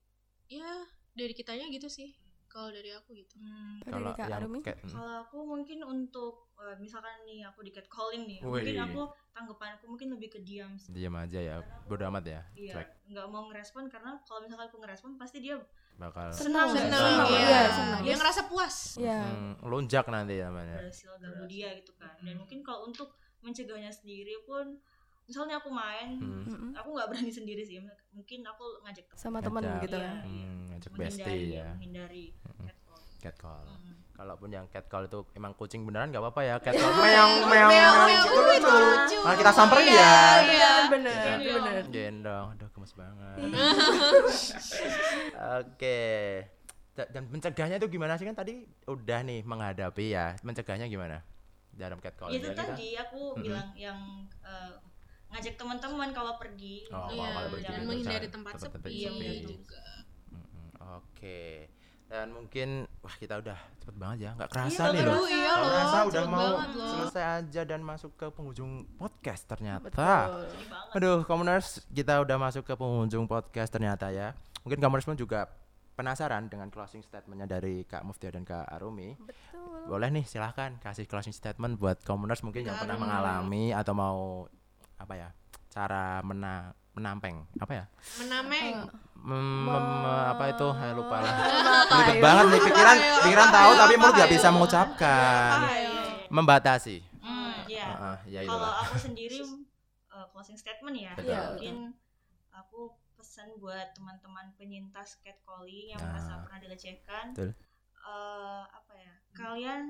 S4: ya dari kitanya gitu sih. Kalau dari aku gitu.
S3: Hmm,
S2: Oh, dari Kak Arumi
S1: kayak- mm.
S3: Kalau aku mungkin untuk eh, misalkan nih aku di catcalling nih,
S1: Wih.
S3: mungkin aku tanggapanku mungkin lebih ke diam sih.
S1: diam aja ya bodo amat ya
S3: Iya,
S1: Cuek.
S3: nggak mau ngerespon karena kalau misalkan aku ngerespon pasti dia
S1: bakal
S3: senang,
S2: Senang,
S3: gitu.
S1: senang,
S4: iya.
S1: iya, senang.
S4: Dia ngerasa puas.
S2: ya
S1: mm, lonjak nanti ya. namanya
S3: berhasil ganggu dia gitu kan. Dan
S4: Hmm.
S3: mungkin kalau untuk mencegahnya sendiri pun, misalnya aku main,
S1: Mm.
S2: Mm-mm.
S3: aku nggak berani sendiri sih. Mungkin aku ngajak teman.
S2: sama temen
S1: Ngajak.
S2: gitu ya
S3: Iya.
S1: Hmm, ngajak
S3: Menghindari,
S1: bestie ya
S3: Menghindari
S1: Mm-mm.
S3: catcall.
S1: catcall
S3: Mm.
S1: kalaupun yang catcall itu emang kucing beneran gak apa-apa ya catcall meong meong
S4: Meong,
S1: meong
S4: meong,
S1: gitu
S4: uh,
S1: lucu
S4: lucu.
S1: Malah kita samperin
S4: Iya,
S1: ya
S4: iya.
S2: bener
S4: Iya.
S2: bener
S1: gendong aduh gemes banget oke Da- dan mencegahnya itu gimana sih kan tadi udah nih menghadapi ya mencegahnya gimana dalam catcall
S3: itu
S1: Ya, kita-
S3: tadi aku
S1: Mm-mm.
S3: bilang yang eh, ngajak teman-teman kalau pergi
S1: Oh, kalau
S3: gitu.
S4: Iya,
S1: malah pergi
S4: dan
S1: gitu,
S4: menghindari
S1: jangan
S4: tempat
S1: tempat
S4: sepi,
S3: Iya,
S1: sepi.
S4: juga.
S1: Mm-mm, oke dan mungkin wah kita udah cepet banget ya nggak kerasa
S3: Iya,
S1: nih
S3: nggak
S1: loh
S4: Aduh, iya
S1: Nggak
S4: loh.
S1: kerasa udah
S4: cepet
S1: mau
S4: banget loh.
S1: selesai aja dan masuk ke penghujung podcast ternyata
S2: betul
S3: Sedih banget.
S1: Aduh, Komuners, kita udah masuk ke pengunjung podcast ternyata ya. Mungkin Komuners pun juga penasaran dengan closing statementnya dari Kak Muftia dan Kak Arumi.
S2: betul
S1: Boleh nih, silahkan kasih closing statement buat Komuners mungkin yang
S4: Kak
S1: pernah
S4: Arumi.
S1: mengalami atau mau apa ya cara mena menampeng apa ya
S4: Menameng.
S1: Mem- mem- apa itu Saya lupa lah
S2: Apa
S1: ribet
S2: ya?
S1: banget nih pikiran
S4: Apa ya?
S1: pikiran
S4: Apa
S1: tahu
S4: ya?
S1: tapi mulut
S4: Apa
S1: nggak
S4: ya?
S1: bisa mengucapkan
S4: Ayo.
S1: membatasi
S3: Iya. Hmm, iya.
S1: Heeh, ya
S3: kalau
S1: itulah
S3: aku sendiri eh, closing statement ya
S1: Betul.
S2: Iya,
S3: mungkin aku pesan buat teman-teman penyintas catcalling yang
S1: Nah.
S3: merasa pernah dilecehkan
S1: Betul.
S3: eh, apa ya kalian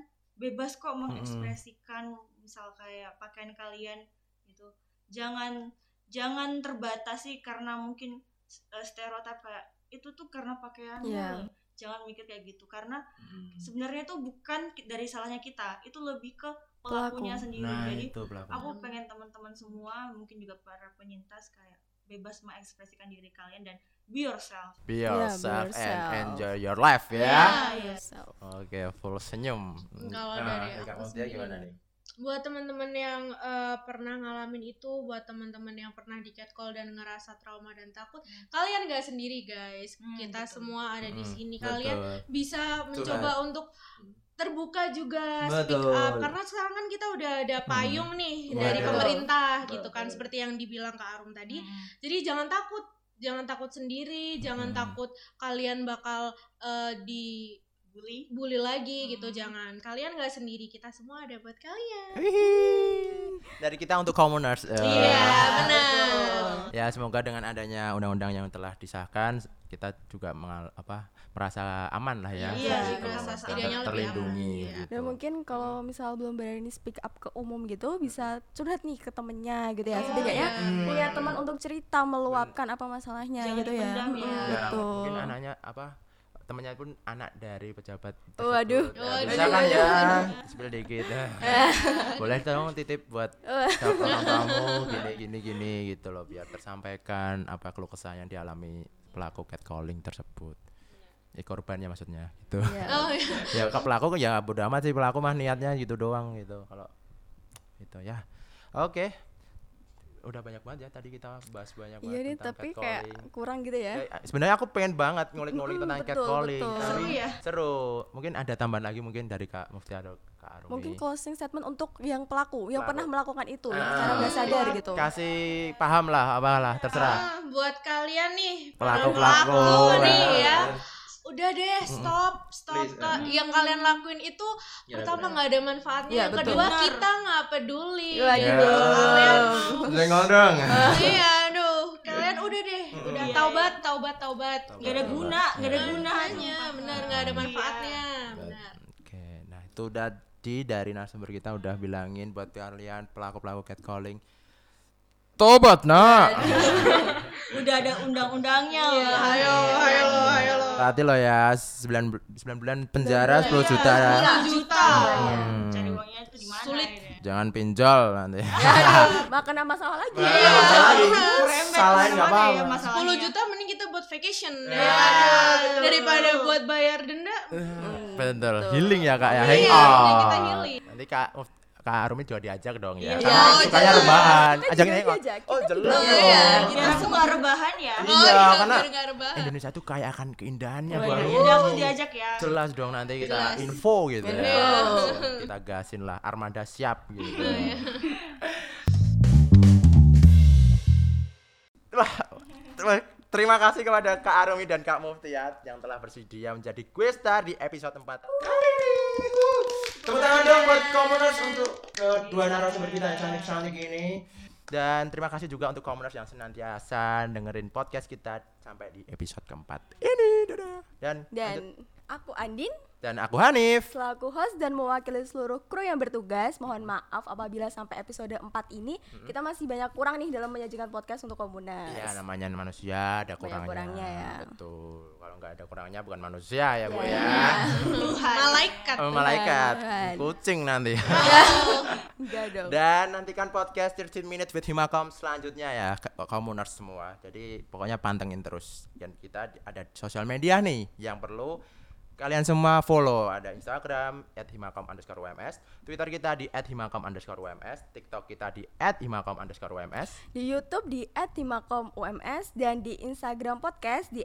S3: bebas kok mengekspresikan misal kayak pakaian kalian gitu jangan jangan terbatasi karena mungkin eh, stereotip kayak itu tuh karena pakaiannya
S2: Iya.
S3: loh." jangan mikir kayak gitu karena sebenarnya itu bukan ki- dari salahnya kita itu lebih ke pelakunya
S2: Pelaku.
S3: sendiri
S1: nah
S3: jadi
S1: itu pelaku
S4: Ah.
S3: aku pengen teman-teman semua mungkin juga para penyintas kayak bebas mengekspresikan diri kalian dan be yourself
S1: Be
S2: Yeah, be
S1: yourself and
S2: yourself.
S1: enjoy your life ya.
S2: Ah,
S4: Iya.
S2: Yourself.
S1: Oke, full senyum.
S4: Kalau
S1: Nah,
S4: dari
S1: Kak
S4: aku
S1: Montia
S4: sendiri.
S1: gimana nih?
S4: buat teman-teman yang eh, pernah ngalamin itu buat teman-teman yang pernah di catcall dan ngerasa trauma dan takut kalian gak sendiri guys
S3: Hmm,
S4: kita
S3: betul.
S4: semua ada di
S1: Mm,
S4: sini kalian
S1: betul.
S4: bisa mencoba untuk terbuka juga
S1: Betul. Hmm.
S4: speak up karena sekarang kan kita udah ada payung nih dari
S1: Betul.
S4: pemerintah gitu
S5: Betul.
S4: kan seperti yang dibilang Kak Arum tadi
S3: Mm.
S4: jadi jangan takut, jangan takut sendiri, jangan
S1: Mm.
S4: takut kalian bakal eh, dibully, bully lagi gitu. Jangan kalian nggak sendiri, kita semua ada buat kalian.
S1: Hihi. Dari kita untuk commoners. eh.
S4: Iya benar.
S1: Ya, semoga dengan adanya undang-undang yang telah disahkan kita juga mengal- apa merasa aman lah ya.
S4: Iya,
S1: gitu.
S4: merasa
S1: Ter-
S4: setidaknya lebih
S1: terlindungi
S4: aman, iya.
S1: gitu.
S2: Dan Ya, mungkin kalau misal belum berani speak up ke umum gitu bisa curhat nih ke temennya gitu ya.
S4: Oh,
S2: Setidaknya
S4: iya.
S2: punya teman untuk cerita meluapkan apa masalahnya
S3: Jangan
S2: gitu ya.
S3: dipendam ya.
S2: Mm,
S1: Ya,
S2: Betul.
S1: mungkin anaknya apa temennya pun anak dari pejabat tersebut.
S2: Waduh.
S1: Ya,
S4: Waduh.
S1: bisa kan ya spill dikit boleh dong titip buat siapa orang kamu gini gini gini gitu loh biar tersampaikan apa keluh kesah yang dialami pelaku catcalling tersebut eh korbannya maksudnya gitu
S2: Ya.
S4: Oh
S1: ya
S4: iya.
S1: ke pelaku ya bodo amat sih pelaku mah niatnya gitu doang gitu kalau gitu ya oke udah banyak banget ya tadi kita bahas banyak banget
S2: Iya nih
S1: tentang
S2: tapi
S1: catcalling.
S2: kayak kurang gitu ya.
S1: Kayak, Sebenarnya aku pengen banget ngulik-ngulik
S2: Mm,
S1: tentang
S2: betul,
S1: catcalling,
S2: betul.
S1: tapi
S3: Seru ya?
S1: seru. Mungkin ada tambahan lagi mungkin dari Kak Mufti atau Kak Arumi.
S2: Mungkin closing statement untuk yang pelaku yang
S1: Pelaku.
S2: pernah melakukan itu
S1: Ah.
S2: yang secara nggak sadar gitu.
S1: kasih paham lah, apalah, terserah.
S4: Ah, buat kalian nih
S1: Pelaku-
S4: para
S1: pelaku.
S4: nih ya. Udah deh, stop, stop.
S5: Please,
S4: Kak. Yang kalian lakuin itu pertama nggak ada manfaatnya,
S2: Iya,
S4: yang
S2: betul.
S4: kedua
S2: Benar.
S4: kita nggak peduli.
S2: Waduh.
S1: Ya.
S4: Jadi, kalian
S1: Jengol dong.
S4: iya aduh kalian udah deh udah
S3: Iya,
S4: taubat taubat taubat
S3: nggak ada guna nggak ada gunanya
S4: gunanya Iya. benar nggak ada manfaatnya benar
S1: Oke, nah itu udah di dari narasumber kita udah bilangin buat kalian pelaku-pelaku catcalling. Tobat, Nak.
S4: Iya,
S3: udah ada undang-undangnya loh
S4: ayo ayo lo ayo lo
S1: Tati lo ya 9, 9 bulan penjara 10 juta ya.
S3: Iya, juta.
S1: Iya.
S3: Cari uangnya itu di mana?
S4: Sulit.
S3: ya?
S1: Jangan pinjol nanti.
S2: iya. Makan nama salah lagi.
S5: Iya.
S3: Aduh,
S5: Rembet
S1: Salahin nggak
S3: kemana-mana
S1: apa-apa.
S3: ya
S4: 10
S3: masalahnya.
S4: juta mending kita buat vacation
S5: Nah.
S4: ya.
S3: Aduh.
S4: daripada buat bayar denda
S2: Hmm,
S1: Betul. Healing ya Kak ya. Hang
S4: Iya,
S1: on.
S4: nanti kita healing.
S1: Nanti Kak oh, Kak Rumi juga diajak dong ya.
S2: Iya.
S1: Karena
S4: Oh,
S1: sukanya
S4: jelas.
S1: rebahan.
S2: Kita
S1: Ajakin
S2: juga
S1: hangout.
S2: diajak,
S1: Oh,
S2: kita
S1: jelas.
S4: juga Iya,
S1: dong.
S4: kita
S3: Biar aku nggak rebahan ya.
S1: Iya,
S4: oh iya
S1: karena
S4: biar nggak rebahan.
S1: Indonesia tuh kaya akan keindahannya
S2: Iya,
S1: Kak
S2: iya.
S1: Rumi.
S3: Jadi aku diajak ya.
S1: Jelas dong nanti kita
S4: Jelas.
S1: info gitu ya.
S4: Iya.
S1: Kita gasin lah armada siap gitu. Wah, ter- Terima kasih kepada Kak Arumi dan Kak Muftiat yang telah bersedia menjadi guest star di episode 4 kali ini.
S5: Tepuk tangan dong buat Komonos untuk kedua narasumber kita yang cantik-cantik ini.
S1: Dan terima kasih juga untuk komuners yang senantiasa dengerin podcast kita sampai di episode keempat ini. Dadah. Dan lanjut.
S2: Dan aku Andin
S1: dan aku Hanif.
S2: selaku host dan mewakili seluruh kru yang bertugas. Mohon maaf apabila sampai episode 4 ini
S1: Hmm.
S2: kita masih banyak kurang nih dalam menyajikan podcast untuk komunas.
S1: Ya namanya manusia ada
S2: Banyak
S1: kurangnya.
S2: kurangnya ya.
S1: Betul. Kalau nggak ada kurangnya bukan manusia ya, Bu
S2: Iya.
S1: ya.
S3: Tuhan.
S4: malaikat
S1: Eh, Malaikat,
S2: Tuhan.
S1: kucing nanti.
S2: Enggak dong.
S1: Dan nantikan podcast 13 Minutes with Himakom selanjutnya ya, K- komuners semua. Jadi pokoknya pantengin terus. Dan kita di- ada di sosial media nih yang perlu kalian semua follow. Ada Instagram @himakom_ums, Twitter kita di @himakom_ums, TikTok kita di @himakom_ums.
S2: di YouTube di @timakomums dan di Instagram podcast di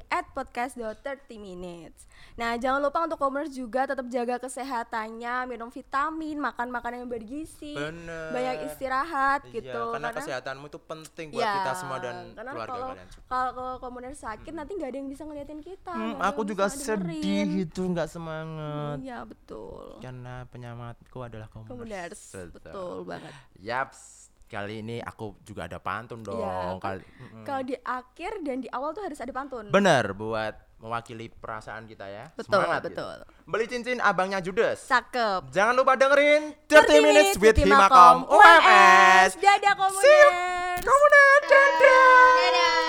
S2: @podcast.30minutes. Nah, jangan lupa untuk komunas juga tetap jaga kesehatannya, minum vitamin, makan makanan yang bergizi,
S1: Bener.
S2: banyak istirahat
S1: Iya,
S2: gitu.
S1: karena, kesehatanmu itu penting buat
S2: ya,
S1: kita semua dan
S2: karena
S1: keluarga
S2: kalau, Ah,
S1: kalian.
S2: Kalau, kalau komunas sakit nanti nggak ada yang bisa ngeliatin kita.
S1: Hmm,
S2: nggak ada
S1: aku
S2: yang
S1: juga
S2: bisa dengerin.
S1: sedih itu nggak semangat.
S2: Iya, betul.
S1: Karena penyemangatku adalah komuners.
S2: Komunas, betul banget.
S1: Iya, Yaps, kali ini aku juga ada pantun dong.
S2: Iya, kan
S1: kali. Mm-mm.
S2: Kalau di akhir dan di awal tuh harus ada pantun.
S1: Bener buat mewakili perasaan kita ya.
S2: betul,
S1: Semangat gitu.
S2: betul.
S1: Beli cincin abangnya Judes.
S2: Cakep.
S1: Jangan lupa dengerin 30 Minutes with Himakom
S2: UMS.
S1: UMS.
S2: Dadah
S1: See you.
S2: komunas.
S1: Komunas, dadah.
S4: dadah